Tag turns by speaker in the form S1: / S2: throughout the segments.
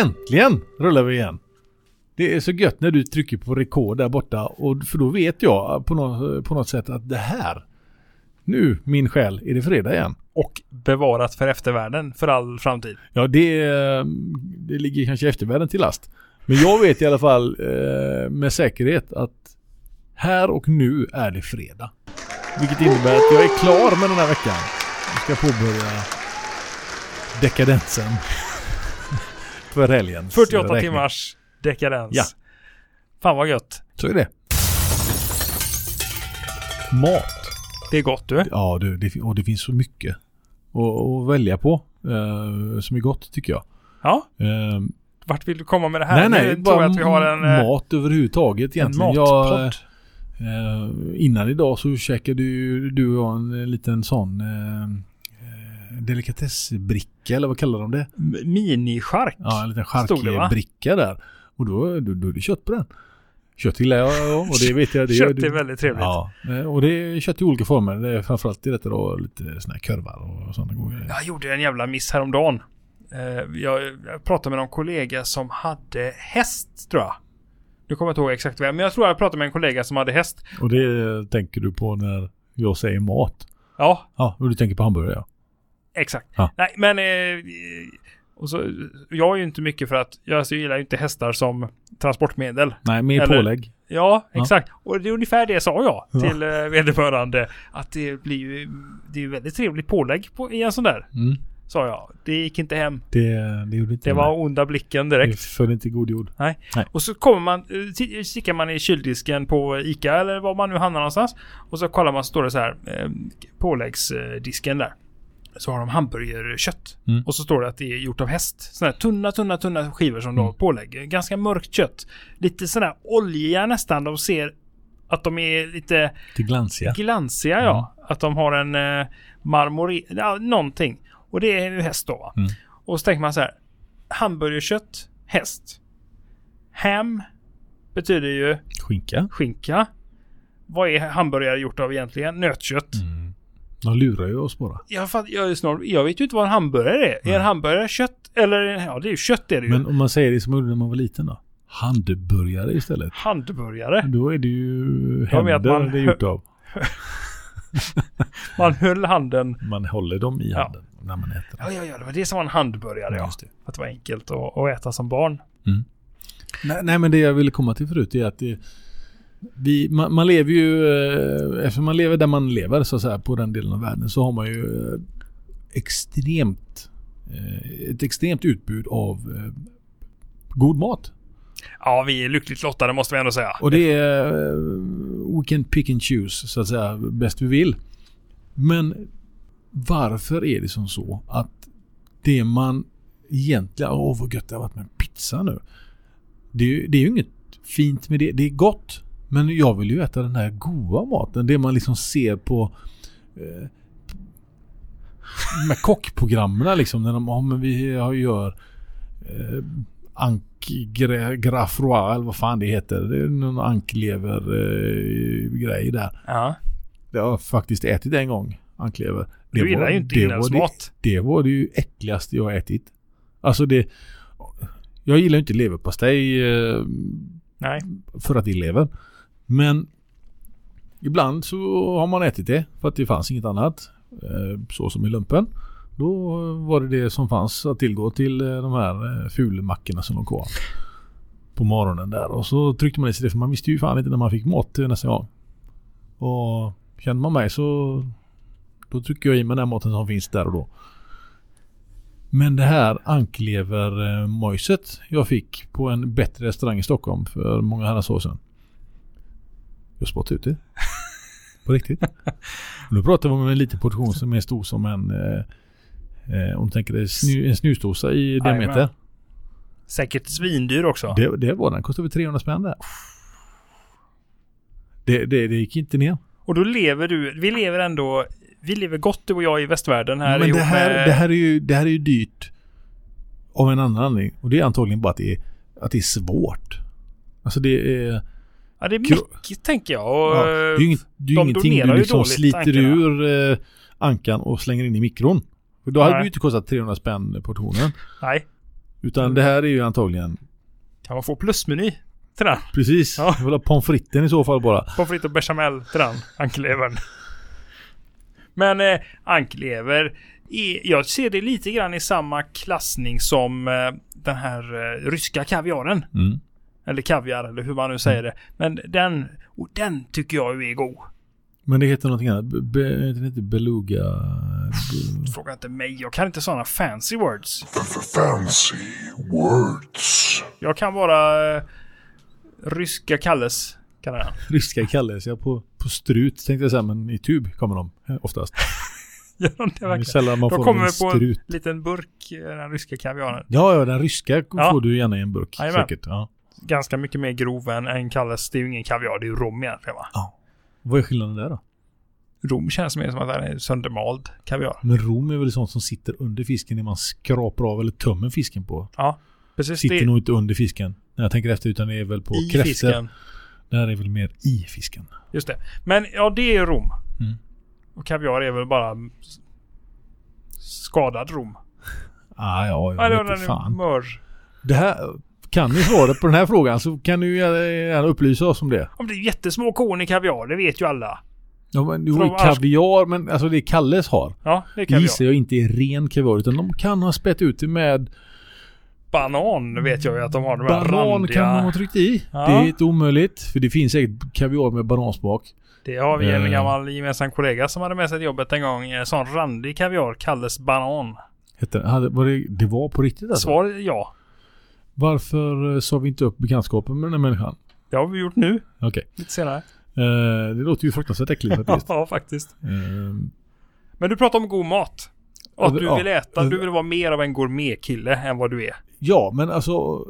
S1: Äntligen rullar vi igen. Det är så gött när du trycker på rekord där borta. Och, för då vet jag på, nå på något sätt att det här. Nu, min själ, är det fredag igen.
S2: Och bevarat för eftervärlden för all framtid.
S1: Ja, det, eh, det ligger kanske eftervärlden till last. Men jag vet i alla fall eh, med säkerhet att här och nu är det fredag. Vilket innebär att jag är klar med den här veckan. Jag ska påbörja dekadensen. För helgens
S2: 48
S1: räkning.
S2: timmars dekadens.
S1: Ja.
S2: Fan vad gött.
S1: Så är det. Mat.
S2: Det är gott du.
S1: Ja, du, det, fin- och det finns så mycket att, att välja på eh, som är gott tycker jag.
S2: Ja.
S1: Eh,
S2: Vart vill du komma med det här?
S1: nej,
S2: Nu
S1: nej,
S2: tror jag
S1: bara
S2: att vi har en, eh,
S1: mat överhuvudtaget
S2: en
S1: egentligen.
S2: matpodd.
S1: Jag, eh, innan idag så käkade ju du och jag en eh, liten sån eh, eh, delikatessbricka eller vad kallar de det?
S2: M- Minischark.
S1: Ja, en liten
S2: Stod det, va?
S1: charkbricka där. Och då, då, då är det kött på den. Kött gillar jag och det vet jag. Det gör
S2: Kött
S1: du.
S2: är väldigt trevligt. Ja.
S1: Ja, eh, och det är kött i olika former. Det är framförallt i detta då lite såna här kurvar och sådana goda grejer.
S2: Jag gjorde en jävla miss häromdagen. Eh, Jag, jag pratade med någon kollega som hade häst tror jag. Nu kommer jag inte ihåg exakt vem, men jag tror jag pratade med en kollega som hade häst.
S1: Och det tänker du på när jag säger mat.
S2: Ja,
S1: Ja, och du tänker på hamburgare ja.
S2: Exakt.
S1: Ja.
S2: Nej, men... Eh, och så, jag är ju inte mycket för att... Jag alltså, gillar ju inte hästar som transportmedel.
S1: Nej, med
S2: Eller-
S1: pålägg.
S2: Ja,
S1: Ja.
S2: exakt. Och det är ungefär det sa jag
S1: Ja.
S2: till eh, vederbörande. Att det blir ju... Det är ju väldigt trevligt pålägg på, i en sån där.
S1: Mm.
S2: Sa jag. Det gick inte hem.
S1: Det, det gjorde inte
S2: Det var onda blicken direkt.
S1: Det föll inte i god jord.
S2: Och så kommer man, eh, ti- stickar man i kyldisken på ICA eller var man nu hamnar någonstans. Och så kollar man så står det så här, eh, påläggsdisken där. Så har de hamburgerkött.
S1: Mm.
S2: Och så står det att det är gjort av häst. Sådana här tunna, tunna, tunna skivor som de har pålägg. Ganska mörkt kött. Lite sådär oljiga nästan. De ser att de är lite
S1: Till glansiga.
S2: glansiga ja.
S1: Mm.
S2: Att de har en eh, marmor... Ja, någonting. Och det är ju häst då va?
S1: Mm.
S2: Och så tänker man så här. Hamburgerkött, häst. Ham betyder ju
S1: Skinka.
S2: skinka. Vad är hamburgare gjort av egentligen? Nötkött.
S1: Mm. De lurar ju oss bara.
S2: Jag, fatt, jag, är snart, jag vet ju inte vad en hamburgare är. Är en hamburgare kött? Eller ja, det är ju kött är det ju.
S1: Men om man säger det som man gjorde när man var liten då? Handburgare istället.
S2: Handburgare.
S1: Då är det ju
S2: Jag menar att
S1: händer
S2: man-
S1: det är gjort av.
S2: Man höll handen
S1: Man håller dem i
S2: Ja.
S1: handen när man äter.
S2: Ja, ja, ja, det var det som var en handburgare. Ja.
S1: Just det.
S2: Att det var enkelt att, att äta som barn.
S1: Nej, nej, men det jag ville komma till förut är att det, vi, man, man lever ju, eh, eftersom man lever där man lever så att säga, på den delen av världen så har man ju eh, extremt, eh, ett extremt utbud av eh, god mat.
S2: Ja, vi är lyckligt lottade måste vi ändå säga.
S1: Och det är, eh, we can pick and choose så att säga bäst vi vill. Men varför är det som så att det man egentligen, åh vad gött det har varit med en pizza nu. Det, är ju- det är ju inget fint med det, det är gott. Men jag vill ju äta den här goda maten, det man liksom ser på eh, med kockprogrammen liksom när de, ja men vi har- gör eh, ankgrafroa eller vad fan det heter. Det är någon anklever-grej eh, grej där.
S2: Ja.
S1: Det har jag faktiskt ätit en gång, anklever. Det
S2: Du gillar ju inte
S1: det var det,
S2: inälvsmat.
S1: det var det ju äckligaste jag har ätit. Alltså det... Jag gillar ju inte leverpastej eh,
S2: Nej.
S1: för att det är lever. Men ibland så har man ätit det för att det fanns inget annat. eh, Så som i lumpen. Då var det det som fanns att tillgå till eh, de här eh, fulmackorna som låg kvar. På morgonen där. Och så tryckte man i sig det för man visste ju fan inte när man fick mat eh, nästa gång. Och känner man mig så då trycker jag i mig den maten som finns där och då. Men det här anklevermojset jag fick på en bättre restaurang i Stockholm för många herrans år sedan. Jag spottade ut det. På riktigt. Och då pratar vi om en liten portion som är stor som en... Eh, eh, om du tänker dig snu, en snusdosa i
S2: Jajamän.
S1: diameter.
S2: Säkert svindyr också.
S1: Det, det var den. Kostade över 300 spänn där. Det, det, det gick inte ner.
S2: Och då lever du, vi lever ändå, vi lever gott du och jag i västvärlden här
S1: Men
S2: ihop
S1: det här,
S2: med,
S1: det, här är ju, det här är ju dyrt av en annan anledning. Och det är antagligen bara att det är, att det är svårt. Alltså det är...
S2: Ja, det är mycket tänker jag.
S1: Ja,
S2: Och, eh,
S1: det är ju inget, det är
S2: de
S1: ju ingenting
S2: donerar
S1: du
S2: ju
S1: liksom
S2: dåligt,
S1: sliter
S2: tankarna.
S1: ur eh, ankan och slänger in i mikron. För då hade
S2: Nej.
S1: det ju inte kostat 300 spänn portionen.
S2: Nej.
S1: Utan det här är ju antagligen
S2: Kan man få plusmeny till den?
S1: Precis,
S2: Ja.
S1: jag vill ha pommes fritesen i så fall bara.
S2: Pommes frites och bechamel till den anklevern. Men eh, anklever, är- jag ser det lite grann i samma klassning som eh, den här eh, ryska kaviaren.
S1: Mm.
S2: Eller kaviar eller hur man nu säger det. Men den, och den tycker jag ju är god.
S1: Men det heter någonting annat. Be, be, det heter beluga... Be,
S2: Fråga inte mig, jag kan inte sådana fancy words.
S3: fancy words.
S2: Jag kan bara eh, ryska Kalles. Kan jag.
S1: ryska kallas jag på, på strut tänkte jag säga, men i tub kommer de eh, oftast.
S2: Gör de det
S1: Det är
S2: verkligen?
S1: sällan man
S2: De
S1: får dem i
S2: kommer
S1: en
S2: på en
S1: strut.
S2: liten burk, eh, den ryska kaviaren.
S1: Ja, ja, den ryska
S2: Ja.
S1: får du gärna i en burk
S2: Jajamän.
S1: säkert. Ja.
S2: Ganska mycket mer grov än, än Kalles. Det är ju ingen kaviar, det är ju rom egentligen va?
S1: Vad är skillnaden där då?
S2: Rom känns mer som att den är söndermald kaviar.
S1: Men rom är väl sånt som sitter under fisken när man skrapar av eller tömmer fisken på.
S2: Ja, precis.
S1: Sitter
S2: det är
S1: nog inte under fisken när jag tänker efter utan det är väl på
S2: i
S1: kräftor.
S2: fisken.
S1: Det här är väl mer i fisken.
S2: Just det. Men ja, det är rom.
S1: Mm.
S2: Och kaviar är väl bara s- skadad rom.
S1: Ah, ja,
S2: Ja,
S1: jag
S2: det
S1: ja,
S2: var
S1: vet
S2: den
S1: inte fan.
S2: mör.
S1: Det här, kan ni svaret på den här frågan så kan du ju gärna upplysa oss om det.
S2: Om det är jättesmå korn i kaviar, det vet ju alla.
S1: Ja, men det
S2: För
S1: var ju
S2: de har-
S1: kaviar, men alltså det Kalles har.
S2: Ja, det
S1: Det
S2: kan
S1: gissar
S2: jag.
S1: jag inte är ren kaviar, utan de kan ha spett ut det med
S2: Banan vet jag ju att de har. De här
S1: banan
S2: randiga.
S1: kan de ha tryckt i.
S2: Ja.
S1: Det är inte omöjligt, för det finns säkert kaviar med banansmak.
S2: Det har vi en
S1: Eh.
S2: gammal gemensam kollega som hade med sig till jobbet en gång. En sån randig kaviar kallas banan.
S1: Hette den. Hade- Var det, det var på riktigt alltså?
S2: Svar är ja.
S1: Varför eh, sa vi inte upp bekantskapen med den här människan?
S2: Det har vi gjort nu.
S1: Okej.
S2: Lite senare.
S1: Eh, det låter ju fruktansvärt äckligt faktiskt.
S2: ja, faktiskt.
S1: Eh,
S2: Men du pratar om god mat. Och att
S1: Ja,
S2: du
S1: ja.
S2: vill äta. Du vill vara mer av en gourmetkille än vad du är.
S1: Ja, men alltså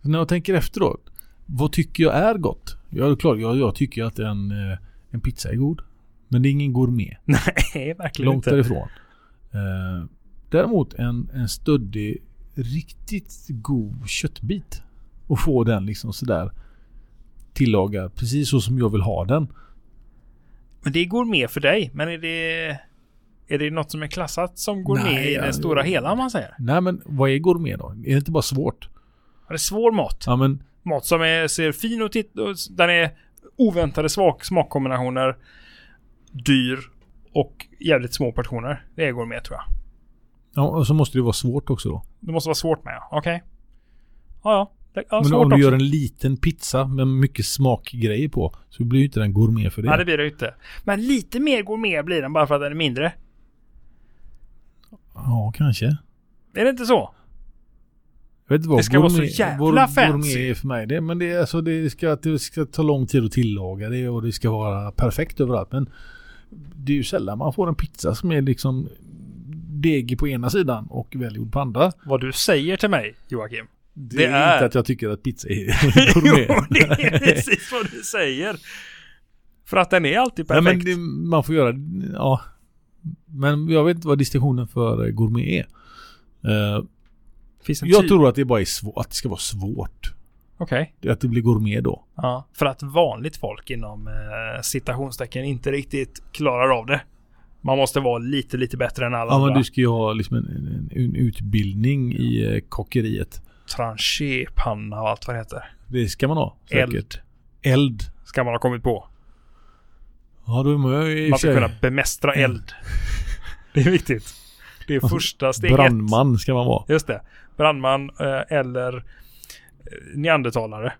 S1: när jag tänker efteråt. Vad tycker jag är gott? Ja, det är klart, jag, jag tycker att en, eh, en pizza är god. Men det är ingen gourmet.
S2: Nej, verkligen
S1: långt
S2: inte.
S1: därifrån. Eh, däremot en, en stöddig, riktigt god köttbit. Och få den liksom sådär tillagad precis så som jag vill ha den.
S2: Men det är gourmet för dig. Men är det... Är det något som är klassat som gourmet
S1: Nej,
S2: i
S1: ja,
S2: den
S1: det-
S2: stora hela om man säger?
S1: Nej men vad är gourmet då? Är det inte bara svårt?
S2: Ja, Det är svår mat.
S1: Ja men
S2: Mat som är, ser fin och titt och s- den är oväntade svak, smakkombinationer. Dyr och jävligt små portioner. Det går med tror jag.
S1: ja, och så måste det vara svårt också då.
S2: Det måste vara svårt med. Okej. Ja, ja. Det, ja
S1: Men
S2: svårt
S1: om
S2: också.
S1: du gör en liten pizza med mycket smakgrejer på så blir ju inte den gourmet för det.
S2: Nej, det blir det ju inte. Men lite mer gourmet blir den bara för att den är mindre.
S1: Ja, kanske.
S2: Är det inte så?
S1: Jag vet inte vad
S2: Det ska vara så jävla fancy.
S1: Gourmet är för mig det. Men det, är alltså, det, ska, det ska ta lång tid att tillaga det och det ska vara perfekt överallt. Men det är ju sällan man får en pizza som är liksom degig på ena sidan och välgjord på andra.
S2: Vad du säger till mig, Joakim.
S1: Det,
S2: Det
S1: är,
S2: är-
S1: inte att jag tycker att pizza är gourmet.
S2: jo, det är precis vad du säger. För att den är alltid
S1: Nej,
S2: perfekt.
S1: men det, man får göra, ja. Men jag vet inte vad distinktionen för gourmet är. Eh,
S2: Finns en
S1: jag
S2: ty-
S1: tror att det bara är svårt, att det ska vara svårt.
S2: Okej.
S1: Att det blir gourmet då.
S2: Ja. För att vanligt folk inom eh, citationstecken inte riktigt klarar av det. Man måste vara lite, lite bättre än alla
S1: Ja, men
S2: andra.
S1: du ska ju ha liksom en, en, en utbildning i eh, kockeriet.
S2: Tranchéppanna och allt vad det heter.
S1: Det ska man ha. Säkert.
S2: Eld
S1: Eld.
S2: ska man ha kommit på.
S1: Ja, då är man ju i och för
S2: Man ska
S1: sig. Mm.
S2: kunna bemästra eld. Det är viktigt. Det är första steget.
S1: Brandman ska man vara.
S2: Just det. Brandman eh, eller eh, neandertalare.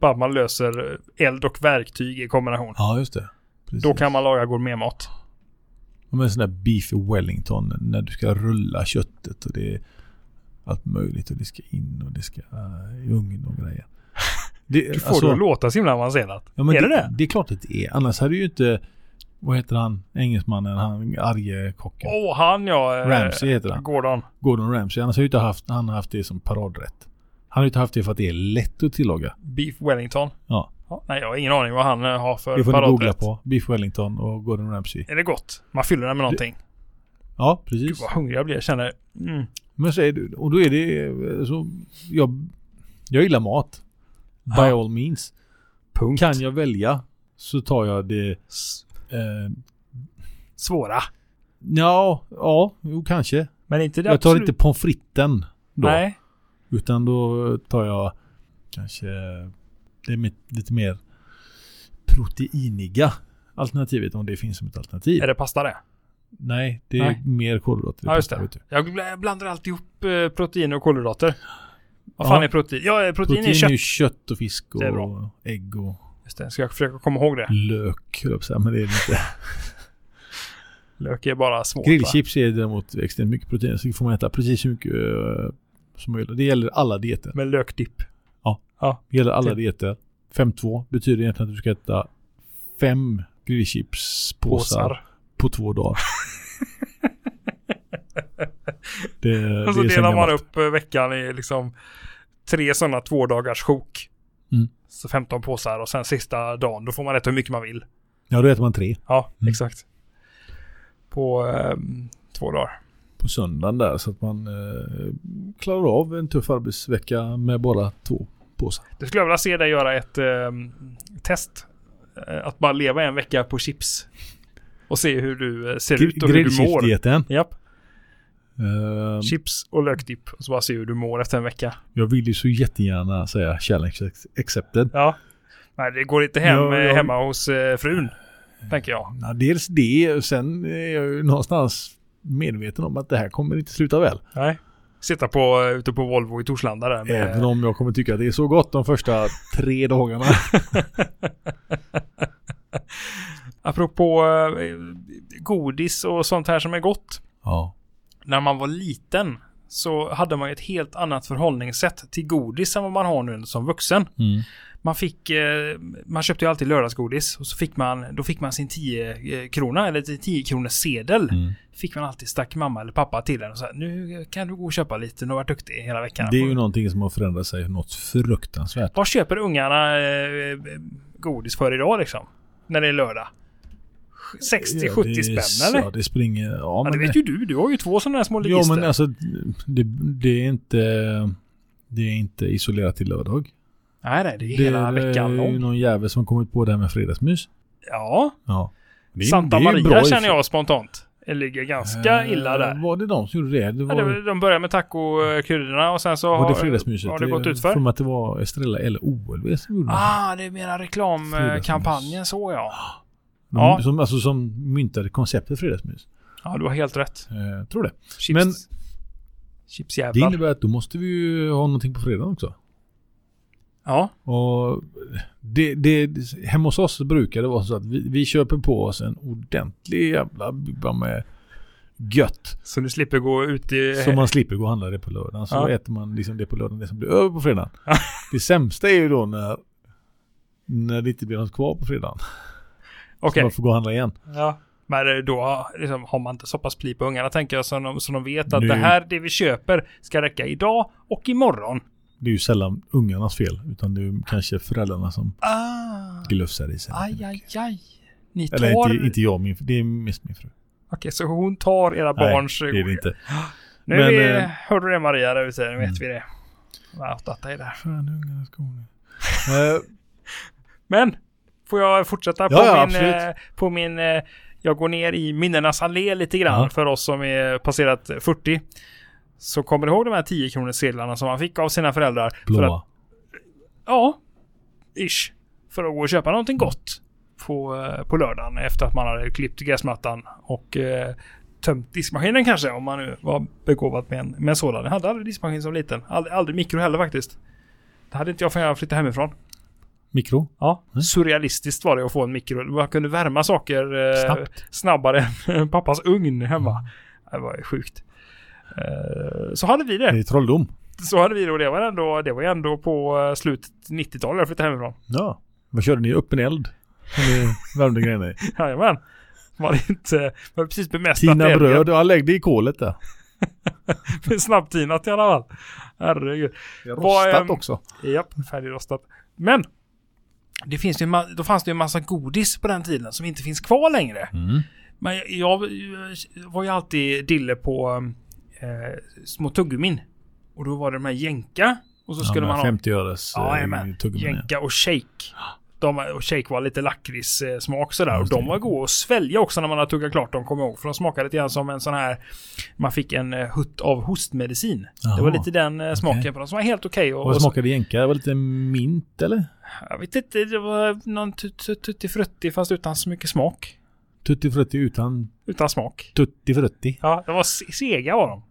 S2: Bara man löser eh, eld och verktyg i kombination.
S1: Ja, just det. Precis.
S2: Då kan man laga gourmetmat.
S1: Med en sån där beef wellington när du ska rulla köttet och det är allt möjligt och det ska in och det ska äh, i ugn och grejer. Det,
S2: Du får det att låta så himla avancerat.
S1: Alltså- ja, men
S2: är det det?
S1: Det är klart att det är. Annars hade ju inte, vad heter han, engelsmannen, han arge kocken.
S2: Åh, han ja. eh,
S1: Ramsay heter han.
S2: Gordon.
S1: Gordon Ramsay. Annars har ju inte haft, han har haft det som paradrätt. Han har ju inte haft det för att det är lätt att tillaga.
S2: Beef Wellington.
S1: Ja,
S2: Ja, nej, jag har ingen aning vad han eh, har för
S1: det får ni
S2: paradrätt.
S1: googla på. Beef Wellington och Gordon Ramsay.
S2: Är det gott? Man fyller den med någonting.
S1: Ja,
S2: Gud
S1: precis.
S2: vad hungrig jag blir. Jag känner... Mm.
S1: Men säger du, och då är det eh, så, jag, jag gillar mat. By
S2: Ja.
S1: all means.
S2: Punkt.
S1: Kan jag välja så tar jag det.
S2: S-
S1: Eh,
S2: Svåra.
S1: ja, ja, jo kanske.
S2: Men inte det
S1: jag tar
S2: absolut-
S1: inte pommes fritesen. då.
S2: Nej.
S1: Utan då tar jag kanske det är mitt, lite mer proteiniga alternativet om det finns som ett alternativ.
S2: Är det pasta det?
S1: Nej, det är
S2: Nej.
S1: mer kolhydrater. i
S2: Ja, just
S1: pasta,
S2: det.
S1: vet du.
S2: Jag bl- blandar alltid ihop eh, protein och kolhydrater. Vad
S1: Ja.
S2: fan är protein? Ja, eh, protein,
S1: Protein
S2: är kött.
S1: är ju kött och fisk
S2: Det är
S1: och ägg och
S2: Just det. Ska jag försöka komma ihåg det?
S1: lök, höll jag på att säga, men det är det inte.
S2: Lök är bara svårt. va?
S1: Grillchips är däremot extremt mycket protein, så får man äta precis hur mycket eh, som möjligt. Det gäller alla dieter.
S2: Med lökdipp.
S1: Det gäller alla dieter. 5-2 betyder egentligen att du ska äta fem grillchipspåsar
S2: Påsar.
S1: på två dagar. det,
S2: Och så
S1: det är sen
S2: delar man
S1: gammalt.
S2: upp eh, veckan i liksom tre sådana två dagars sjok.
S1: Mm.
S2: Så 15 påsar och sen sista dagen då får man äta hur mycket man vill.
S1: Ja, då äter man tre.
S2: Ja,
S1: Mm.
S2: exakt. På ehm, två dagar.
S1: På söndagen där så att man eh, klarar av en tuff arbetsvecka med bara två påsar.
S2: Det skulle jag vilja se dig göra ett ehm, test. Eh, Att bara leva en vecka på chips. Och se hur du eh, ser ut och hur du mår.
S1: Grillchipsdieten.
S2: Japp.
S1: Ehm,
S2: Chips och lökdipp. Och så bara se hur du mår efter en vecka.
S1: Eh, jag vill ju så jättegärna säga challenge accepted.
S2: Ja. Nej, det går inte hem
S1: Ja,
S2: eh,
S1: jag-
S2: hemma hos eh, frun. Tänker jag.
S1: Ja, dels det, sen är jag ju någonstans medveten om att det här kommer inte sluta väl.
S2: Nej. Sitta på, eh, ute på Volvo i Torslanda där. Med,
S1: Även om jag kommer tycka att det är så gott de första tre dagarna.
S2: Apropå eh, godis och sånt här som är gott.
S1: Ja.
S2: När man var liten så hade man ju ett helt annat förhållningssätt till godis än vad man har nu som vuxen.
S1: Mm.
S2: Man, fick, eh, man köpte ju alltid lördagsgodis och så fick man, då fick man sin 10 eh, krona eller 10 kronors sedel.
S1: Mm.
S2: Fick man alltid stack mamma eller pappa till en och sa nu kan du gå och köpa lite, du har varit duktig hela veckan.
S1: Det är ju någonting som har förändrat sig något fruktansvärt.
S2: Vad köper ungarna eh, godis för idag liksom? När det är lördag? 60-70
S1: Ja, det är-
S2: spänn eller?
S1: Ja, det springer. Ja,
S2: Ja,
S1: men
S2: det vet ju du. Du har ju två sådana här små
S1: ja,
S2: ligister.
S1: men alltså det, det är inte... Det är inte isolerat till lördag.
S2: nej, nej, det är
S1: Det
S2: hela
S1: är
S2: veckan
S1: eh, ju
S2: lång.
S1: någon jävel som kommit på det här med fredagsmys.
S2: Ja,
S1: Ja. Det är-
S2: Santa
S1: det är ju bra
S2: Maria
S1: i-
S2: känner jag spontant. Det ligger ganska
S1: Eh,
S2: illa där.
S1: Var det de som gjorde det? Det
S2: Ja,
S1: var,
S2: det var- de börjar med tacokryddorna och sen så
S1: var
S2: har,
S1: det fredagsmyset.
S2: har det gått ut
S1: Jag
S2: för.
S1: tror att det var Estrella eller OLW som gjorde det.
S2: Ah, det är mera reklamkampanjen så ja.
S1: De,
S2: ja.
S1: som, alltså, som myntade konceptet fredagsmys.
S2: Ja, du har helt rätt.
S1: Eh, tror det.
S2: Chips.
S1: Men- Det
S2: Chipsjävlar.
S1: innebär att då måste vi ju ha någonting på fredagen också.
S2: Ja,
S1: Och det, det, hemma hos oss brukar det vara så att vi, vi köper på oss en ordentlig jävla bibba med gött.
S2: så du slipper gå ut i...
S1: Så man slipper gå och handla det på lördagen. Så
S2: Ja.
S1: äter man liksom det på lördagen, det som blir över på fredagen. Det sämsta är ju då när, när det inte blir något kvar på fredagen.
S2: Okej.
S1: Så man får gå och handla igen.
S2: Ja. Men eh, då har- liksom, har man inte så pass pli på ungarna tänker jag som de, som de vet att
S1: Nu-
S2: det här, det vi köper, ska räcka idag och imorgon.
S1: Det är ju sällan ungarnas fel, utan det är ju kanske föräldrarna som
S2: Ah,
S1: glufsar i sig.
S2: aj, aj, aj. Ni tar...
S1: Eller inte, inte jag, min, det är mest min fru.
S2: Okej, så hon tar era barns...
S1: Nej, det är det inte.
S2: Nu
S1: Men,
S2: är,
S1: eh, Mm.
S2: hör du det Maria där ute, nu vet vi det. Ja, detta är det.
S1: Fan, ungarna ska hon- Eh,
S2: Men, får jag fortsätta på,
S1: Ja, ja,
S2: min,
S1: absolut.
S2: eh, på min... eh, Jag går ner i minnenas allé lite grann
S1: Ja.
S2: för oss som är passerat 40. Så kommer du ihåg de här 10 kronors sedlarna som man fick av sina föräldrar? För att
S1: Blåa.
S2: Ja, ish. För att gå och köpa någonting gott på, eh, på lördagen efter att man hade klippt gräsmattan och eh, tömt diskmaskinen kanske om man nu var begåvad med en, med en sådan. Jag hade aldrig diskmaskin som liten. Aldrig, aldrig mikro heller faktiskt. Det hade inte jag förrän jag flyttade hemifrån.
S1: Mikro.
S2: Ja, surrealistiskt var det att få en mikro. Man kunde värma saker eh,
S1: Snabbt.
S2: snabbare än pappas ugn hemma. Det var ju sjukt. Eh, så hade vi det.
S1: Det är trolldom.
S2: Så hade vi det och det var ändå, det var ju ändå på eh, slutet 90-talet jag flyttade hemifrån.
S1: Ja. Vad körde ni? Öppen eld? Som ni värmde grejerna i?
S2: Jajamän. Man hade inte, man hade precis bemästrat
S1: Tina
S2: elden.
S1: bröd? Ja, lägg det i kolet där.
S2: Snabbtinat i alla fall. Herregud.
S1: Det har
S2: Vad,
S1: rostat
S2: ehm,
S1: också.
S2: Japp, färdigrostat. Men. Det finns ju, en ma- då fanns det ju en massa godis på den tiden som inte finns kvar längre.
S1: Mm.
S2: Men jag, jag var ju alltid dille på eh, små tuggummin. Och då var det de här jänka. Och så skulle
S1: ja,
S2: man ha
S1: 50 öres eh,
S2: Ja, jajamän.
S1: tuggummi.
S2: jänka och shake. De, och shake var lite lakritssmak sådär. Och de var goda att svälja också när man hade tuggat klart dem, kommer jag ihåg. För de smakade lite grann som en sån här... Man fick en eh, hutt av hostmedicin. Det var
S1: Jaha.
S2: lite den eh, smaken på dem som var helt okej. och-
S1: Vad
S2: och-
S1: smakade jänka? Det var lite mint eller?
S2: Jag vet inte, det var någon tut- tut- tuttifrutti fast utan så mycket smak.
S1: Tutti frutti utan
S2: Utan smak.
S1: tutti frutti.
S2: Ja, det var se- sega var de.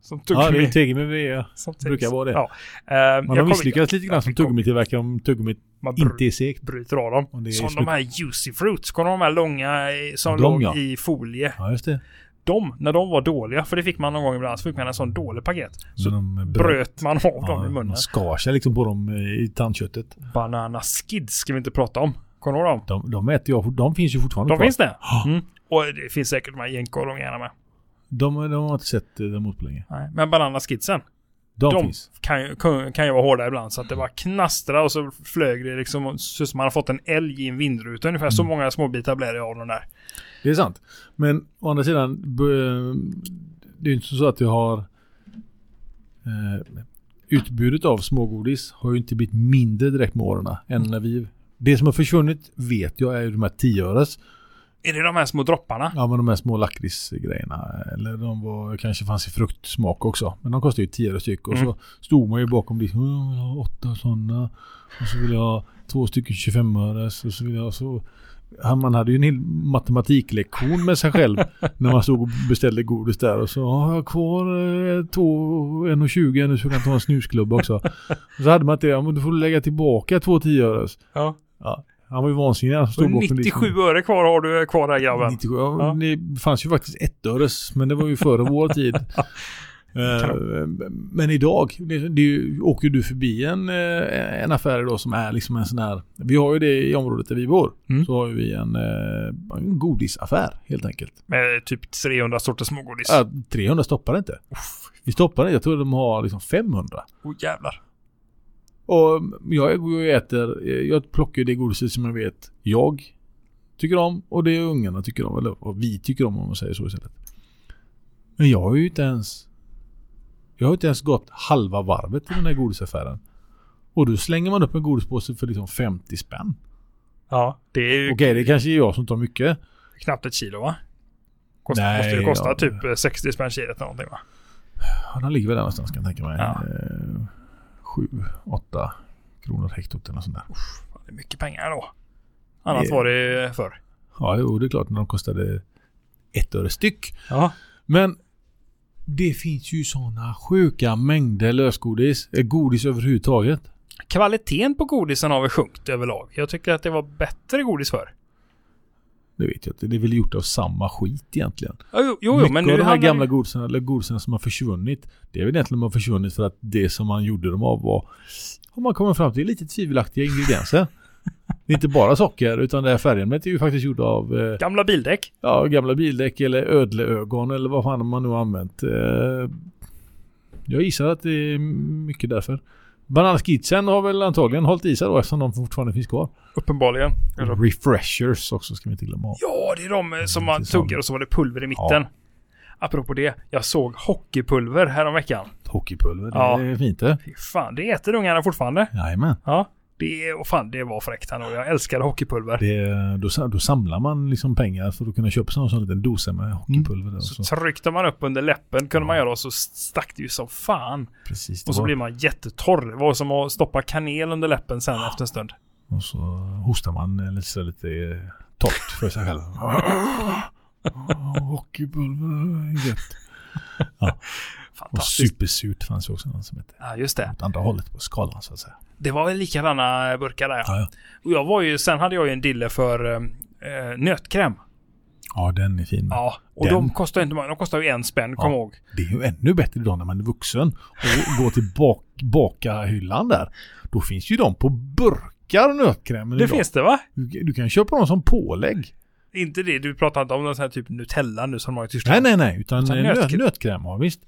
S2: Som tuggummi.
S1: Ja, det är tegi med V. ja.
S2: som
S1: brukar vara det.
S2: Ja. Eh,
S1: Man
S2: jag
S1: har
S2: kommer-
S1: misslyckats lite grann som
S2: jag kommer-
S1: tuggummit om tuggummit
S2: Man br-
S1: inte är segt.
S2: bryter av dem.
S1: Och det är
S2: Som
S1: slut.
S2: de här juicy fruits. Kommer de här långa eh, som
S1: De,
S2: låg
S1: ja.
S2: i folie.
S1: Ja, just det.
S2: De, när de var dåliga, för det fick man någon gång ibland, så fick man en sån dålig paket. Så
S1: Men de bröt-
S2: bröt man av dem
S1: Ja,
S2: i munnen.
S1: Man skar sig liksom på dem eh, i tandköttet.
S2: Banana skids ska vi inte prata om. Kommer du ihåg dem?
S1: De, de äter jag, de finns ju fortfarande
S2: De
S1: kvar.
S2: finns det? Mm. Och det finns säkert de här jänkorungarna med.
S1: De, de har jag inte sett eh, däremot på länge.
S2: Nej. Men banana skidsen.
S1: De,
S2: de
S1: finns.
S2: kan, ju- kan, kan ju vara hårda ibland så att det bara knastrar och så flög det liksom så som man har fått en älg i en vindruta. Ungefär
S1: Mm.
S2: så många små bitar blev det av den där.
S1: Det är sant. Men å andra sidan, b- det är ju inte så att jag har... Eh, utbudet av smågodis har ju inte blivit mindre direkt med åren än när vi... Det som har försvunnit vet jag är ju de här 10
S2: Är det de här små dropparna?
S1: Ja men de här små lakritsgrejerna. Eller de var, kanske fanns i fruktsmak också. Men de kostade ju 10 euro styck. Och
S2: Mm.
S1: så stod man ju bakom disken. Jag vill ha åtta sådana. Och så vill jag ha två stycken 25 öres. Och så vill jag ha så. Han- Man hade ju en hel matematiklektion med sig själv. när man stod och beställde godis där. Och så har jag kvar eh, två, en och 20 nu så kan jag ta en snusklubba också. och så hade man inte det. Ja, men du får lägga tillbaka två 10 öres.
S2: Ja.
S1: Han var ju vansinnig. Han som
S2: Och
S1: stod bakom liksom- disken.
S2: 97 öre kvar har du kvar där grabben.
S1: 97. Ja,
S2: Ja.
S1: Det fanns ju faktiskt ettöres, men det var ju före vår tid. Eh, men idag, det, det är ju, åker du förbi en, eh, en affär idag som är liksom en sån här, vi har ju det i området där vi bor,
S2: Mm.
S1: så har ju vi en, eh, en godisaffär helt enkelt.
S2: Med typ 300 sorters smågodis.
S1: Ja, 300 stoppar inte. Vi stoppar inte, jag tror de har liksom 500.
S2: Oh, jävlar.
S1: Och jag går och äter, eh, jag plockar ju det godiset som jag vet jag tycker om och det ungarna tycker om, eller vad vi tycker om om man säger så istället. Men jag har ju inte ens Jag har ju inte ens gått halva varvet i den här godisaffären. Och då slänger man upp en godispåse för liksom 50 spänn.
S2: Ja, det är ju
S1: Okej, det kanske är jag som tar mycket.
S2: knappt ett kilo va? Kost,
S1: Nej,
S2: måste ju kosta
S1: ja.
S2: typ eh, 60 spänn kilot eller någonting va?
S1: Ja, den ligger väl där någonstans kan jag tänka mig.
S2: Ja.
S1: 7, 8 kronor hektot eller något sånt där.
S2: Fan, Det är mycket pengar då. Annat
S1: Det-
S2: var det förr.
S1: Ja, jo, det är klart när de kostade ett öre styck.
S2: Ja.
S1: Men det finns ju sådana sjuka mängder lösgodis. eh, Godis överhuvudtaget.
S2: Kvaliteten på godisen har väl sjunkit överlag. Jag tycker att det var bättre godis förr.
S1: Det vet jag inte. Det är väl gjort av samma skit egentligen.
S2: Ja, Jo, jo, jo
S1: Mycket
S2: men nu
S1: av de här
S2: handlar
S1: gamla
S2: det-
S1: godisen, eller godisen som har försvunnit. Det är väl egentligen de har försvunnit för att det som man gjorde dem av var har man kommit fram till lite tvivelaktiga ingredienser. Det är inte bara socker utan det här färgämnet är ju faktiskt gjort av eh,
S2: Gamla bildäck.
S1: ja, gamla bildäck eller ödleögon eller vad fan man nu har använt. Eh, Jag gissar att det är mycket därför. Bananskitsen har väl antagligen hållit i sig då eftersom de fortfarande finns kvar.
S2: Uppenbarligen.
S1: Mm. Refreshers också ska vi inte glömma. av.
S2: Ja, det är de eh, som man
S1: Precis som-
S2: tuggar och så var det pulver i mitten. Apropå det, jag såg hockeypulver häromveckan.
S1: Hockeypulver,
S2: Ja.
S1: det är fint det.
S2: Fy fan, det äter ungarna fortfarande.
S1: Jajamän.
S2: Ja, det, är- och fan, det var fräckt ändå. Jag älskade hockeypulver.
S1: Det, då, sa- då samlar man liksom pengar för att kunna köpa sån, sån liten dosa med hockeypulver. Där och så.
S2: Mm. Så tryckte man upp under läppen kunde man göra och så stack det ju som fan.
S1: Precis, det
S2: Och så
S1: var-
S2: blir man jättetorr. Det var som att stoppa kanel under läppen sen efter en stund.
S1: och så hostar man eller så lite eh, torrt för sig själv. Ah, Hockeypulver, gött. Och
S2: Fantastiskt.
S1: supersurt fanns ju också någon som hette.
S2: Ja, just det.
S1: Åt andra hållet på skalan så att säga.
S2: Det var väl likadana burkar där.
S1: Ja, ja.
S2: Och jag var ju, sen hade jag ju en dille för eh, nötkräm.
S1: ja den är fin.
S2: Ja, och
S1: Den-
S2: de kostar ju inte många. De kostar ju en spänn, kom
S1: Ja.
S2: ihåg.
S1: Det är ju ännu bättre idag när man är vuxen och går till bak, bakarhyllan där. Då finns ju de på burkar nötkrämen
S2: Det
S1: idag.
S2: finns det va?
S1: Du, du kan köpa dem som pålägg.
S2: Inte det, du pratar inte om någon sån här typ Nutella nu som de har i
S1: Nej,
S2: Tyskland.
S1: nej, nej. Utan
S2: Utan
S1: eh, nöt,
S2: nötkräm.
S1: nötkräm, ja visst.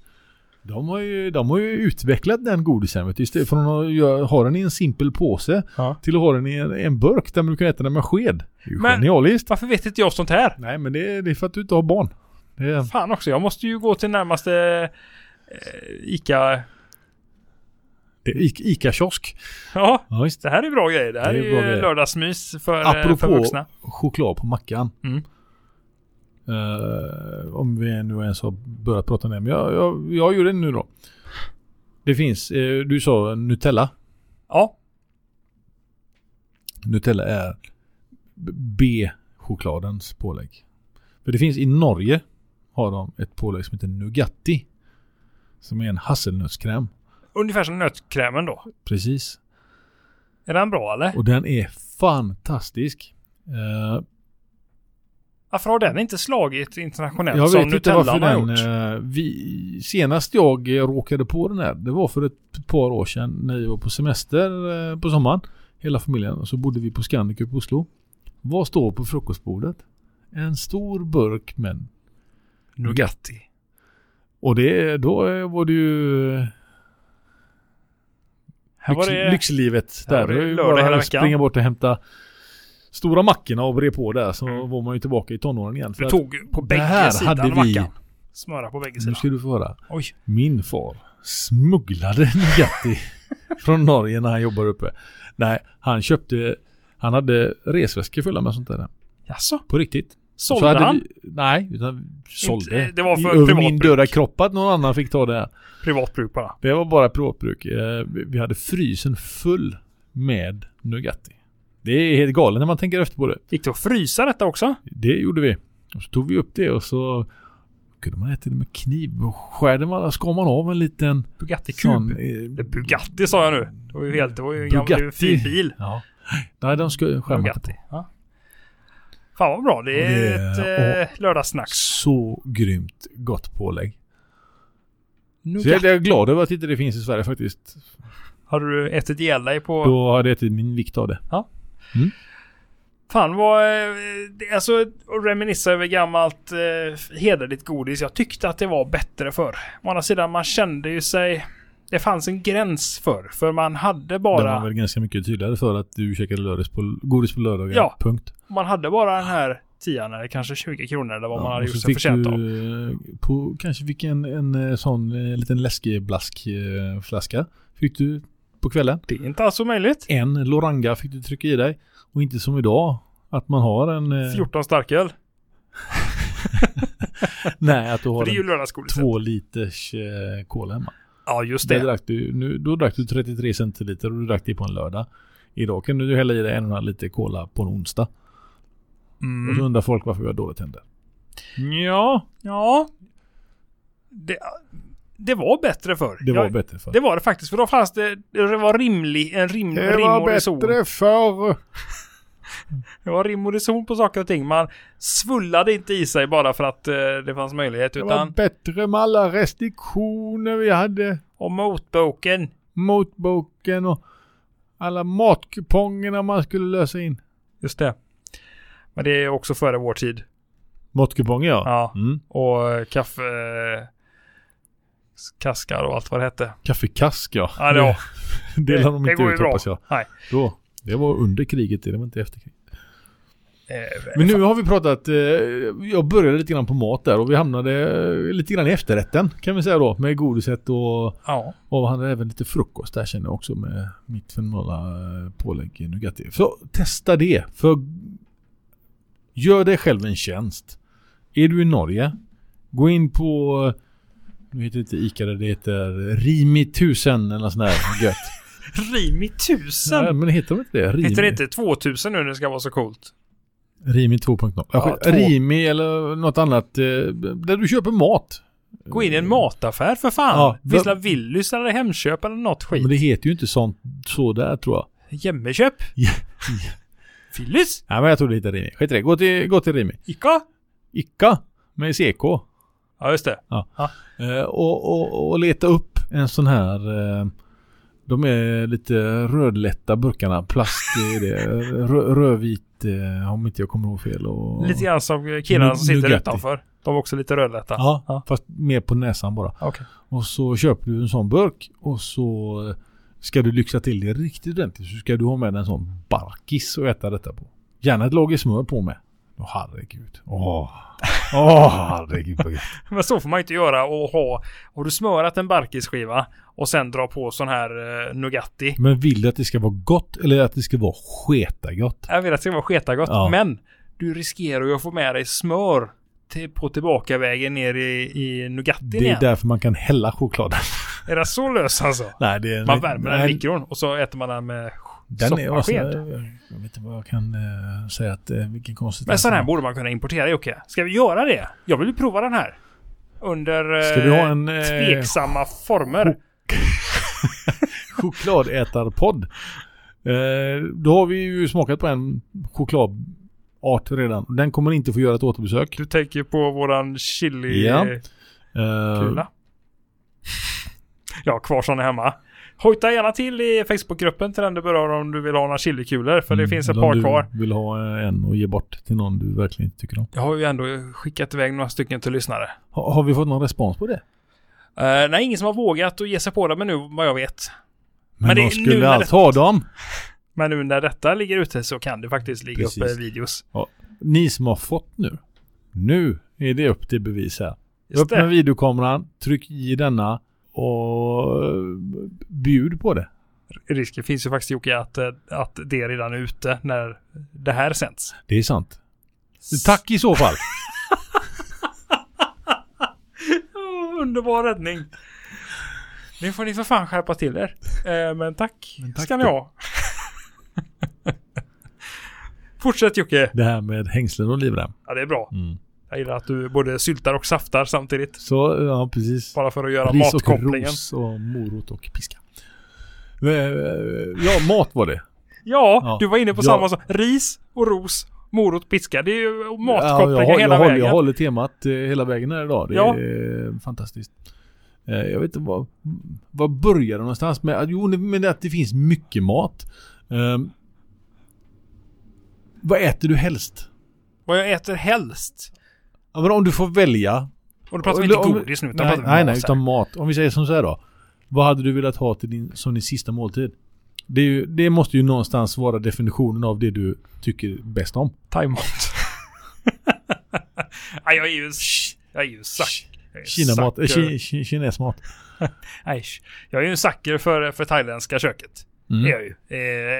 S1: De har, ju, de har ju utvecklat den godisen. vet du. Istället för att ha- göra- ha den i en simpel påse
S2: Ja.
S1: till att ha den i en, en burk där du kan äta den med sked. Det är ju
S2: Men-
S1: genialiskt.
S2: Varför vet inte jag sånt här?
S1: Nej, men det, det är för att du inte har barn. Det är,
S2: Fan också, jag måste ju gå till närmaste eh, Ica...
S1: Det är I- Ica-kiosk.
S2: Ja,
S1: Ja, visst.
S2: det här är bra grejer. Det här
S1: Det
S2: är,
S1: är bra
S2: ju
S1: grejer.
S2: lördagsmys för, eh, för
S1: Apropå
S2: vuxna.
S1: choklad på mackan.
S2: Mm.
S1: Eh, om vi nu ens har börjat prata om det. Men jag, jag, jag gör det nu då. Det finns, eh, du sa Nutella.
S2: Ja,
S1: Nutella är b- B-chokladens pålägg. För det finns i Norge har de ett pålägg som heter Nugatti. Som är en hasselnötskräm.
S2: ungefär som nötkrämen då.
S1: Precis.
S2: Är den bra eller?
S1: Och den är fantastisk. Eh,
S2: Varför har den inte slagit internationellt
S1: jag
S2: som
S1: vet inte
S2: Nutellan
S1: varför
S2: har
S1: den...
S2: gjort?
S1: eh, Vi, senast jag eh, råkade på den här, det var för ett par år sedan när vi var på semester eh, på sommaren. Hela familjen. Och så bodde vi på Scandic uppe i Oslo. Vad står på frukostbordet? En stor burk med en
S2: Nugatti.
S1: Och det, då eh, var det ju eh,
S2: Här var
S1: lyx,
S2: det...
S1: lyxlivet
S2: här
S1: där.
S2: var
S1: Det
S2: det
S1: var ju
S2: lördag hela
S1: bara att
S2: veckan.
S1: springa bort och hämta stora mackorna och bre på där så
S2: Mm.
S1: var man ju tillbaka i tonåren igen. För
S2: Du
S1: att-
S2: tog på bägge
S1: här
S2: sidan
S1: hade vi-
S2: mackan. Smöra på bägge
S1: nu
S2: sidan.
S1: ska du få höra.
S2: Oj.
S1: Min far smugglade Nugatti från Norge när han jobbade uppe. Nej, han köpte, han hade resväskor fulla med sånt där.
S2: Jaså?
S1: På riktigt.
S2: Sålde
S1: Så hade
S2: han?
S1: Vi, nej, utan sålde.
S2: Inte- det var för
S1: Över
S2: privat
S1: min
S2: bruk.
S1: döda kropp att någon annan fick ta det. Här.
S2: Privat bruk bara.
S1: Det var bara privatbruk. Eh, vi- Vi hade frysen full med Nugatti. Det är helt galet när man tänker efter på det.
S2: Gick det att frysa detta också?
S1: Det gjorde vi. Och så tog vi upp det och så kunde man äta det med kniv. Och skärde man, skar man av en liten sån...
S2: Bugatti-kub.
S1: eh,
S2: Det är Bugatti sa jag nu. Det var ju helt... Det var ju en gammal
S1: Bugatti.
S2: fin bil.
S1: Ja. Nej, de ska skär man inte på.
S2: Bugatti. Ja. Fan vad bra. Det är
S1: Och det-
S2: ett eh, lördagssnack.
S1: Så grymt gott pålägg. Så
S2: Nougat.
S1: jag jag är glad över att inte det finns i Sverige faktiskt.
S2: Har du ätit ihjäl dig på...
S1: Då hade jag ätit min vikt av det.
S2: Fan vad... eh, det- Alltså att reminisca över gammalt eh, hederligt godis. Jag tyckte att det var bättre förr. Å andra sidan, man kände ju sig... Det fanns en gräns förr. För man hade
S1: Det
S2: bara...
S1: var väl ganska mycket tydligare för att du käkade lördags på, godis på lördagar.
S2: Ja.
S1: Punkt.
S2: Man hade bara den här 10 eller kanske 20 kronor eller vad man
S1: Ja,
S2: hade
S1: och
S2: gjort
S1: så
S2: sig
S1: fick
S2: förtjänt
S1: du,
S2: av.
S1: eh, På, kanske fick en, en eh, sån eh, liten läskeblaskflaska. Fick du på kvällen.
S2: Det är inte alls omöjligt.
S1: En Loranga fick du trycka i dig. Och inte som idag. Att man har en... eh,
S2: 14 starköl.
S1: Nej, att du
S2: För
S1: har
S2: det är ju
S1: en
S2: lördagsgodiset.
S1: två liters eh, kola hemma.
S2: Ja, just
S1: Det
S2: det.
S1: drack du, nu, då drack du 33 centiliter och du drack det på en lördag. Idag kan du hälla i dig en och en halv liter kola på en onsdag. Och så
S2: Mm.
S1: undrar folk varför vi har dåligt händer. Ja,
S2: Ja. Det, det var bättre förr.
S1: det var
S2: jag,
S1: bättre förr.
S2: Det var det faktiskt. För då fanns det, det var rimlig, en rim, rim och reson.
S1: förr.
S2: Det var rim och reson på saker och ting. Man svullade inte i sig bara för att eh, det fanns möjlighet. Utan
S1: bättre med alla restriktioner vi hade.
S2: och motboken.
S1: Motboken och alla matkupongerna man skulle lösa in.
S2: Just det. Men det är också före vår tid.
S1: Matkuponger ja.
S2: Ja.
S1: Mm.
S2: Och eh, kaffe... eh, Kaskar och allt vad det hette.
S1: Kaffekask ja.
S2: Ja, det, var-
S1: det lade de
S2: det
S1: inte
S2: går ju
S1: ut
S2: bra.
S1: hoppas jag.
S2: Nej.
S1: Då, det var under kriget, det var inte efter kriget.
S2: Eh,
S1: Men nu har vi pratat, eh, jag började lite grann på mat där och vi hamnade eh, lite grann i efterrätten kan vi säga då. Med godiset och,
S2: ja.
S1: och han hade även lite frukost där känner jag också med mitt fenomenala eh, pålägg i Nugatti. Så testa det, för gör dig själv en tjänst. Är du i Norge, gå in på, nu heter det inte Ica, det heter Rimi 1000 eller något sånt där gött.
S2: Rimi
S1: Nej,
S2: 1000!
S1: men heter de inte det? Rimi,
S2: Heter det inte 2000 nu när det ska vara så coolt?
S1: Rimi 2.0.
S2: Ja,
S1: Ja,
S2: två.
S1: Rimi eller något annat eh, där du köper mat.
S2: Gå in i en mataffär för fan!
S1: Eh, Ja,
S2: Finns det Willys eller Hemköp eller något
S1: Men
S2: skit?
S1: det heter ju inte sånt så där tror jag.
S2: Jämmeköp?
S1: Ja.
S2: Willys?
S1: Nej men jag tror det heter Rimi. Skit i det. Gå till, gå till Rimi.
S2: Ica?
S1: Ica med CK.
S2: Ja, just det.
S1: Eh, och, och, och leta upp en sån här eh, de är lite rödlätta burkarna. Plast i det. Rö, rödvit eh, om inte jag kommer ihåg fel. Och...
S2: Lite grann som killarna som sitter
S1: Nugatti.
S2: utanför. De var också lite rödlätta.
S1: Ja, fast mer på näsan bara.
S2: Okej.
S1: Och så köper du en sån burk och så eh, ska du lyxa till det riktigt ordentligt. Så ska du ha med en sån barkis och äta detta på. Gärna ett lager smör på med. Åh herregud. Åh. Åh herregud vad gött.
S2: Men så får man ju inte göra och ha. Har du smörat en barkisskiva och sen dra på sån här eh, Nugatti.
S1: Men vill du att det ska vara gott eller att det ska vara sketagott?
S2: Jag vill att det ska vara sketagott.
S1: Ja.
S2: Men du riskerar ju att få med dig smör till, på tillbakavägen ner i, i Nugattin
S1: Det är
S2: igen.
S1: därför man kan hälla chokladen.
S2: Är det så lös alltså?
S1: Nej, det är en
S2: Man
S1: lit-
S2: värmer den i
S1: nej,
S2: mikron och så äter man den med
S1: Den är alltså,
S2: soppasked.
S1: jag vet inte vad jag kan eh, säga att eh, vilken konsistens.
S2: Men sån här
S1: den är.
S2: borde man kunna importera Jocke. Ska vi göra det? Jag vill ju prova den här. Under
S1: Ska vi ha en,
S2: eh,
S1: eh,
S2: tveksamma former.
S1: Chokladätarpodd. Eh, då har vi ju smakat på en chokladart redan. Den kommer inte få göra ett återbesök.
S2: Du tänker på våran chili...
S1: Ja.
S2: eh,
S1: Eh,
S2: Kula. Jag har kvar såna hemma. Hojta gärna till i Facebookgruppen till den du berör om du vill ha några chilikulor. För det
S1: mm,
S2: finns ett
S1: eller
S2: par
S1: om
S2: kvar.
S1: Du vill ha eh, en och ge bort till någon du verkligen inte tycker om.
S2: Jag har ju ändå skickat iväg några stycken till lyssnare.
S1: Ha, har vi fått någon respons på det?
S2: Eh, nej, ingen som har vågat att ge sig på det men nu vad jag vet.
S1: Men,
S2: Men
S1: de
S2: det är nu
S1: skulle
S2: när
S1: allt ha dem.
S2: Men nu när detta ligger ute så kan det faktiskt ligga
S1: Precis.
S2: uppe videos.
S1: Ni som har fått nu. Nu är det upp till bevis här.
S2: Just
S1: upp med
S2: det.
S1: videokameran, tryck i denna och eh, bjud på det.
S2: Risken finns ju faktiskt Jocke att, eh, att det redan är ute när det här sänds.
S1: Det är sant. Tack i så fall.
S2: Åh, Underbar räddning. Nu får ni för fan skärpa till er. Eh, men, tack
S1: Men tack
S2: ska ni
S1: då.
S2: ha. Fortsätt Jocke.
S1: Det här med hängslen och livrem.
S2: Ja, det är bra.
S1: Mm.
S2: Jag gillar att du både syltar och saftar samtidigt.
S1: Så, ja precis.
S2: Bara för att göra
S1: Ris och
S2: matkopplingen.
S1: ros och morot och piska. Eh, Ja, mat var det.
S2: Ja,
S1: Ja.
S2: du var inne på
S1: Ja.
S2: samma sak. Ris och ros, morot, piska. Det är ju
S1: Ja, jag,
S2: matkopplingar
S1: håller-
S2: hela
S1: jag, håller,
S2: vägen.
S1: jag håller temat eh, hela vägen här idag. Det
S2: Ja.
S1: är eh, fantastiskt. Eh, Jag vet inte vad... Vad började någonstans med? Jo, det- men att det finns mycket mat. Eh, Vad äter du helst?
S2: Vad jag äter helst.
S1: Ja, men om du får välja.
S2: Och då pratar vi
S1: Eller
S2: inte
S1: om-
S2: godis nu, utan
S1: nej,
S2: pratar vi
S1: nej,
S2: mat
S1: nej,
S2: här.
S1: utan mat. Om vi säger som så här då. Vad hade du velat ha till din, som din sista måltid? Det, är ju, det måste ju någonstans vara definitionen av det du tycker bäst om.
S2: thaimat. Nej, jag är ju... sh- Jag är ju sack. jag är ju
S1: Kinamat, äh,
S2: sucker.
S1: ki, ki, kinesmat.
S2: Nej, sh- jag är ju en sucker för, för thailändska köket.
S1: Mm.
S2: Det är jag ju.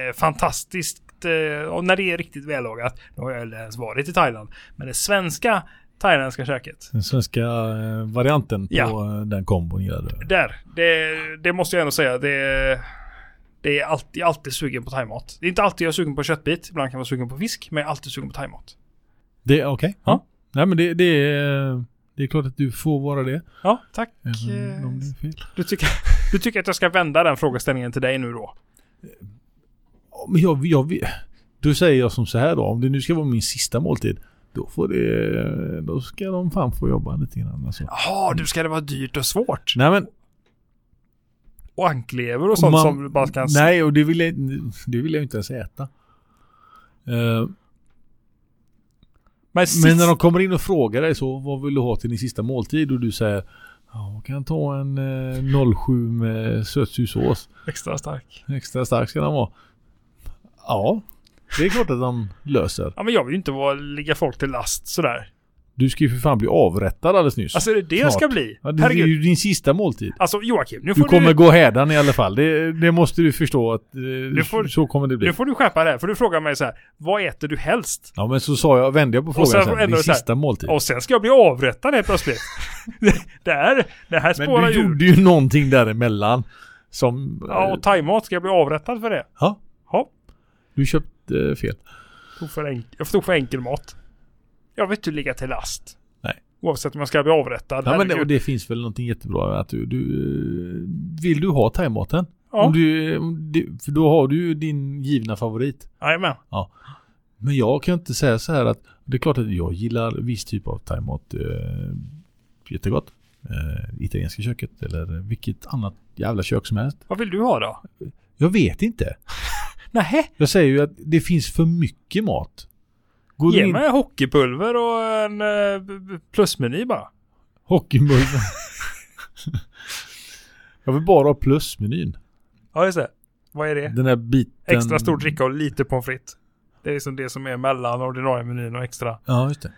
S2: Eh, fantastiskt. Eh, och när det är riktigt vällagat. Då har jag aldrig ens varit i Thailand. Men det svenska thailändska köket.
S1: Den svenska eh, varianten på
S2: Ja.
S1: eh, den kombon gillade du.
S2: Där. Det, det måste jag ändå säga. Det, det är alltid, jag är alltid sugen på thaimat. Det är inte alltid jag är sugen på köttbit. Ibland kan jag vara sugen på fisk. Men jag är alltid sugen på thaimat.
S1: Det är okej.
S2: Ja.
S1: Ja. Nej men det, det är... eh, Det är klart att du får vara det.
S2: Ja, tack.
S1: Även
S2: eh,
S1: om det är fel.
S2: Du tycker, du tycker att jag ska vända den frågeställningen till dig nu då?
S1: Ja, Men jag, jag, vet- då säger jag som så här då. Om det nu ska vara min sista måltid. Då får det... eh, Då ska de fan få jobba lite grann alltså.
S2: Jaha, du ska det vara dyrt och svårt?
S1: Nej men
S2: Och anklever och sånt
S1: Man-
S2: som du bara kan...
S1: Nej, och det vill jag, det vill jag inte ens äta. Eh,
S2: men sist,
S1: men när de kommer in och frågar dig så, vad vill du ha till din sista måltid? Och du säger, ja, jag kan ta en eh, 07 med sötsursås.
S2: Extra stark.
S1: Extra stark ska den vara. Ja, det är klart att de löser.
S2: Ja, men jag vill ju inte vara, ligga folk till last sådär.
S1: Du ska ju för fan bli avrättad alldeles nyss.
S2: Alltså är det det jag ska
S1: Snart.
S2: bli?
S1: ja, det, det är
S2: Herregud.
S1: ju din sista måltid.
S2: Alltså Joakim, nu
S1: Du
S2: får
S1: kommer
S2: du,
S1: gå hädan i alla fall. Det, det måste du förstå att eh,
S2: får-
S1: så kommer det bli.
S2: nu får du skärpa det här. För du frågar mig så här, vad äter du helst?
S1: Ja men så sa jag, vände jag på frågan
S2: sen
S1: sen.
S2: ändå
S1: Din
S2: så här-
S1: sista måltid.
S2: Och sen ska jag bli avrättad helt plötsligt. det, här, det här
S1: Men
S2: spårar
S1: du
S2: ju.
S1: gjorde ju någonting däremellan som... eh,
S2: Ja, och thaimat, ska jag bli avrättad för det?
S1: ja,
S2: Ja,
S1: du köpte eh, fel.
S2: tog för enk- jag tog för enkel mat. Jag vill inte ligga till last.
S1: Nej.
S2: Oavsett om jag ska bli avrättad.
S1: Ja, men det,
S2: herregud.
S1: och det finns väl någonting jättebra att du... du eh, vill du ha thaimaten?
S2: Ja.
S1: Om du, eh, om du, för då har du ju din givna favorit.
S2: Jajamän.
S1: Men jag kan inte säga så här att... Det är klart att jag gillar viss typ av thaimat eh, jättegott. Eh, italienska köket eller vilket annat jävla kök som helst.
S2: Vad vill du ha då?
S1: Jag vet inte.
S2: Nej,
S1: Jag säger ju att det finns för mycket mat. Går du
S2: ge
S1: in
S2: mig hockeypulver och en eh, b- b- plusmeny bara.
S1: hockeymulven? jag vill bara ha plusmenyn.
S2: Ja, just det. Vad är det?
S1: Den här biten.
S2: Extra stor dricka och lite pommes frites. Det är liksom det som är mellan ordinarie menyn och extra.
S1: Ja, just det.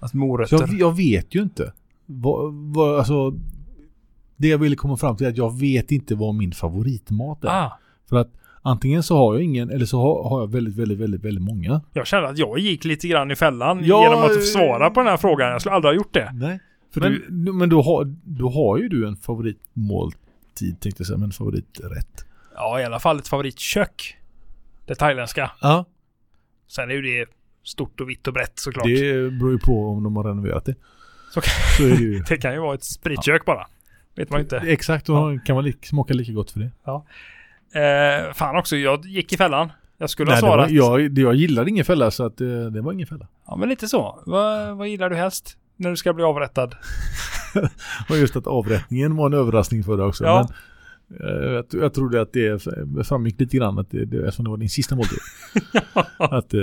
S2: Alltså
S1: Så
S2: morötter.
S1: jag, jag vet ju inte. Vad, vad, alltså, det jag ville komma fram till är att jag vet inte vad min favoritmat är.
S2: ah,
S1: För att antingen så har jag ingen eller så har, har jag väldigt, väldigt, väldigt, väldigt många.
S2: jag kände att jag gick lite grann i fällan
S1: Ja,
S2: genom
S1: eh,
S2: att svara på den här frågan. Jag skulle aldrig ha gjort det.
S1: Nej.
S2: För
S1: men
S2: du-
S1: du... men då, har, då har ju du en favoritmåltid tänkte jag säga, men en favoriträtt.
S2: Ja, i alla fall ett favoritkök. Det thailändska.
S1: Ja.
S2: Sen är ju det stort och vitt och brett såklart. Det,
S1: Det beror ju på om de har renoverat det.
S2: Så kan-
S1: Så är det ju.
S2: kan ju vara ett spritkök bara. Vet man ju inte.
S1: Exakt, då kan man li- smaka lika gott för det.
S2: Eh, fan också, jag gick i fällan. Jag skulle ha
S1: det var,
S2: svarat.
S1: jag, det- jag gillade ingen fälla så att eh, det var ingen fälla.
S2: Ja, men lite så. Va, vad gillar du helst? När du ska bli avrättad?
S1: Och just att avrättningen var en överraskning för dig också.
S2: Ja.
S1: Men, eh, jag, jag trodde att det framgick lite grann att det, det, eftersom det var din sista måltid. att eh,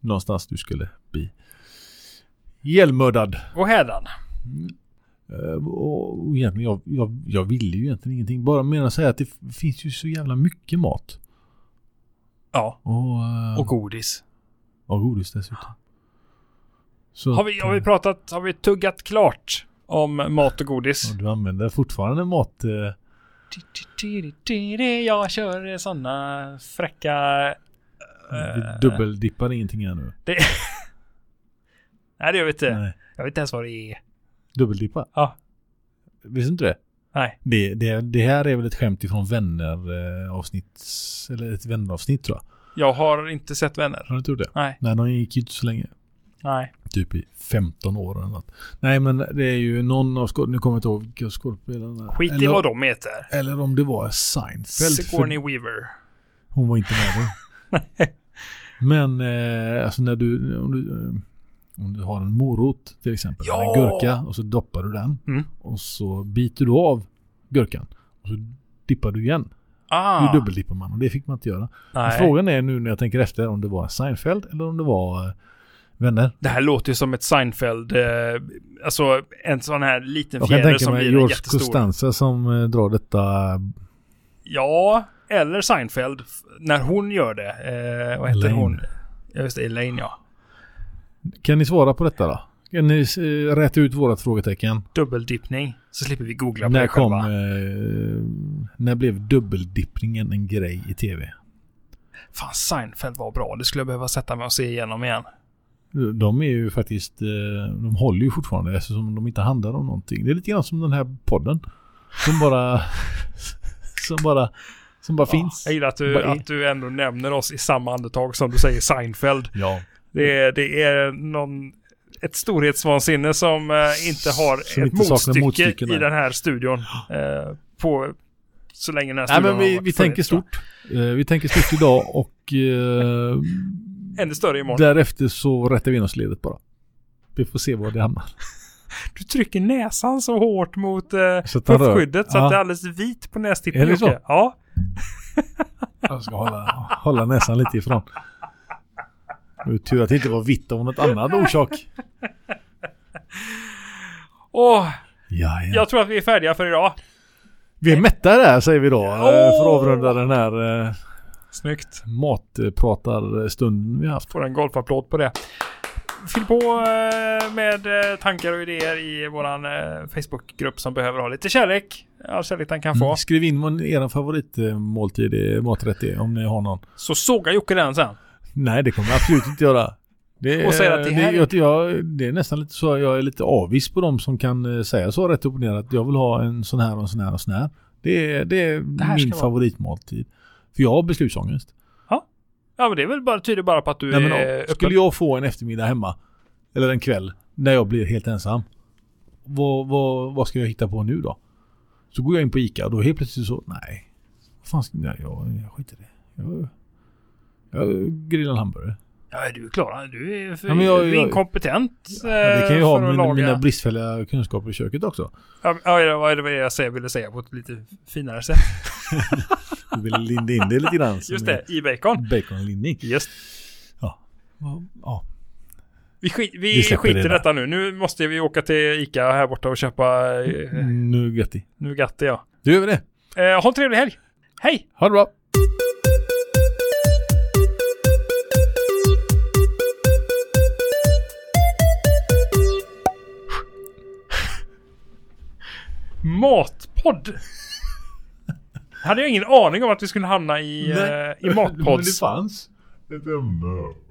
S1: någonstans du skulle bli ihjälmördad.
S2: Och hädan.
S1: Eh, och, och egentligen, jag, jag, jag ville ju egentligen ingenting. Bara menar säga att det f- finns ju så jävla mycket mat.
S2: Ja.
S1: Och, eh,
S2: Och godis.
S1: och godis dessutom. Så
S2: Har vi, har vi pratat, har vi tuggat klart om mat och godis?
S1: Och du använder fortfarande mat... Eh,
S2: Jag kör sådana fräcka eh,
S1: vi dubbeldippar ingenting här nu.
S2: Det... Nej, det gör vi inte.
S1: Nej.
S2: Jag vet inte ens vad det är.
S1: Dubbeldippa?
S2: Ja.
S1: Visste inte det?
S2: Nej.
S1: Det, det? det här är väl ett skämt ifrån vänner eh, avsnitts... Eller ett vänneravsnitt tror jag.
S2: Jag har inte sett vänner.
S1: Har du inte gjort det?
S2: Nej.
S1: Nej, de gick ju inte så länge.
S2: Nej.
S1: Typ i 15 år eller något. Nej, men det är ju någon av skåd... Nu kommer jag inte ihåg vilka skådespelarna...
S2: Skit i
S1: eller,
S2: vad de heter.
S1: Eller om det var Seinfeld.
S2: Sigourney
S1: För
S2: Weaver.
S1: hon var inte med då. men eh, alltså när du... Om du eh, om du har en morot till exempel,
S2: Ja!
S1: eller en gurka och så doppar du den.
S2: Mm.
S1: Och så biter du av gurkan. Och så dippar du igen.
S2: Ah.
S1: Nu dubbeldippar man och det fick man inte göra. Men
S2: Nej.
S1: Frågan är nu när jag tänker efter om det var Seinfeld eller om det var eh, vänner.
S2: Det här låter ju som ett Seinfeld, eh, alltså en sån här liten
S1: Jag kan
S2: fjäder
S1: tänka
S2: som
S1: mig
S2: blir en
S1: George
S2: jättestor.
S1: Costanza som eh, drar detta.
S2: Ja, eller Seinfeld f- när hon gör det. Eh, vad heter
S1: Elaine.
S2: hon? Ja, just det, Elaine ja.
S1: Kan ni svara på detta då? Kan ni eh, räta ut vårat frågetecken?
S2: Dubbeldippning. Så slipper vi googla på
S1: När
S2: det
S1: kom...
S2: själva.
S1: Eh, när blev dubbeldippningen en grej i tv?
S2: Fan, Seinfeld var bra. Det skulle jag behöva sätta mig och se igenom igen.
S1: De är ju faktiskt... Eh, de håller ju fortfarande eftersom de inte handlar om någonting. Det är lite grann som den här podden. Som bara... som bara... Som bara finns.
S2: Jag gillar att du,
S1: Vad är-
S2: att du ändå nämner oss i samma andetag som du säger Seinfeld.
S1: Ja.
S2: Det är, det är någon, ett storhetsvansinne som eh, inte har
S1: Som
S2: ett
S1: inte saknar
S2: motstycke,
S1: motstycke,
S2: i
S1: nej.
S2: den här studion. Eh, på, så länge den här
S1: Nej
S2: studion
S1: men
S2: har
S1: vi,
S2: varit
S1: vi
S2: funnits,
S1: tänker
S2: tror jag.
S1: stort. Eh, vi tänker stort idag och eh,
S2: Ännu större imorgon.
S1: därefter så rättar vi in oss i ledet bara. Vi får se var det hamnar.
S2: Du trycker näsan så hårt mot eh,
S1: Så att den rör.
S2: puffskyddet så
S1: Ja.
S2: att det är alldeles vit på nästippen.
S1: Är det så?
S2: Jocke. Ja.
S1: Jag ska hålla, hålla näsan lite ifrån. Det var tur att det inte var vitt av något annat orsak.
S2: Åh,
S1: Ja, ja.
S2: jag tror att vi är färdiga för idag.
S1: Vi är mätta där säger vi då. eh, För att
S2: Åh!
S1: avrunda den här eh,
S2: Snyggt.
S1: matpratarstunden vi haft.
S2: Får en golfapplåd på det. Fyll på eh, med eh, tankar och idéer i våran eh, Facebookgrupp som behöver ha lite kärlek. All kärlek den
S1: Mm.
S2: kan få.
S1: Skriv in vad er favoritmåltid, är, maträtt är, om ni har någon.
S2: Så sågar Jocke den sen.
S1: Nej, det kommer jag absolut inte göra. Det,
S2: Och säger att det här-
S1: jag, jag, det är nästan lite så, jag är lite avis på de som kan eh, säga så rätt upp och ner att jag vill ha en sån här och en sån här och sån här. Det är, det är
S2: här ska
S1: min
S2: vara-
S1: favoritmåltid. För jag har beslutsångest.
S2: Ja men det är väl bara, tyder bara på att du
S1: Nej, men,
S2: är
S1: ja,
S2: öppen.
S1: skulle jag få en eftermiddag hemma, eller en kväll, när jag blir helt ensam. Vad, vad, vad ska jag hitta på nu då? Så går jag in på Ica och då helt plötsligt så, nej. Vad fan ska, nej, jag, jag skiter i det. Jag, jag grillar en hamburgare.
S2: Ja du är klar. Du är, för,
S1: Ja, men jag-
S2: du är
S1: jag-
S2: inkompetent.
S1: Ja, det kan ju
S2: eh,
S1: ha
S2: för att
S1: med
S2: laga.
S1: mina bristfälliga kunskaper i köket också.
S2: Ja, men- ja, vad är det jag säger, ville säga på ett lite finare sätt?
S1: Du vill linda in det lite grann. som
S2: Just
S1: i
S2: det, i bacon.
S1: Baconlindning.
S2: Just.
S1: Ja.
S2: Vi, skit, vi,
S1: Vi släpper
S2: skiter i
S1: det där.
S2: detta nu. Nu måste vi åka till Ica här borta och köpa eh,
S1: Nu Götti.
S2: Nugatti ja.
S1: Då gör vi det.
S2: Eh, ha en trevlig helg! Hej!
S1: Ha det bra.
S2: matpodd. hade jag ingen aning om att vi skulle hamna i, eh, i
S1: Men det
S2: matpods.
S1: fanns.
S3: Ett ämne.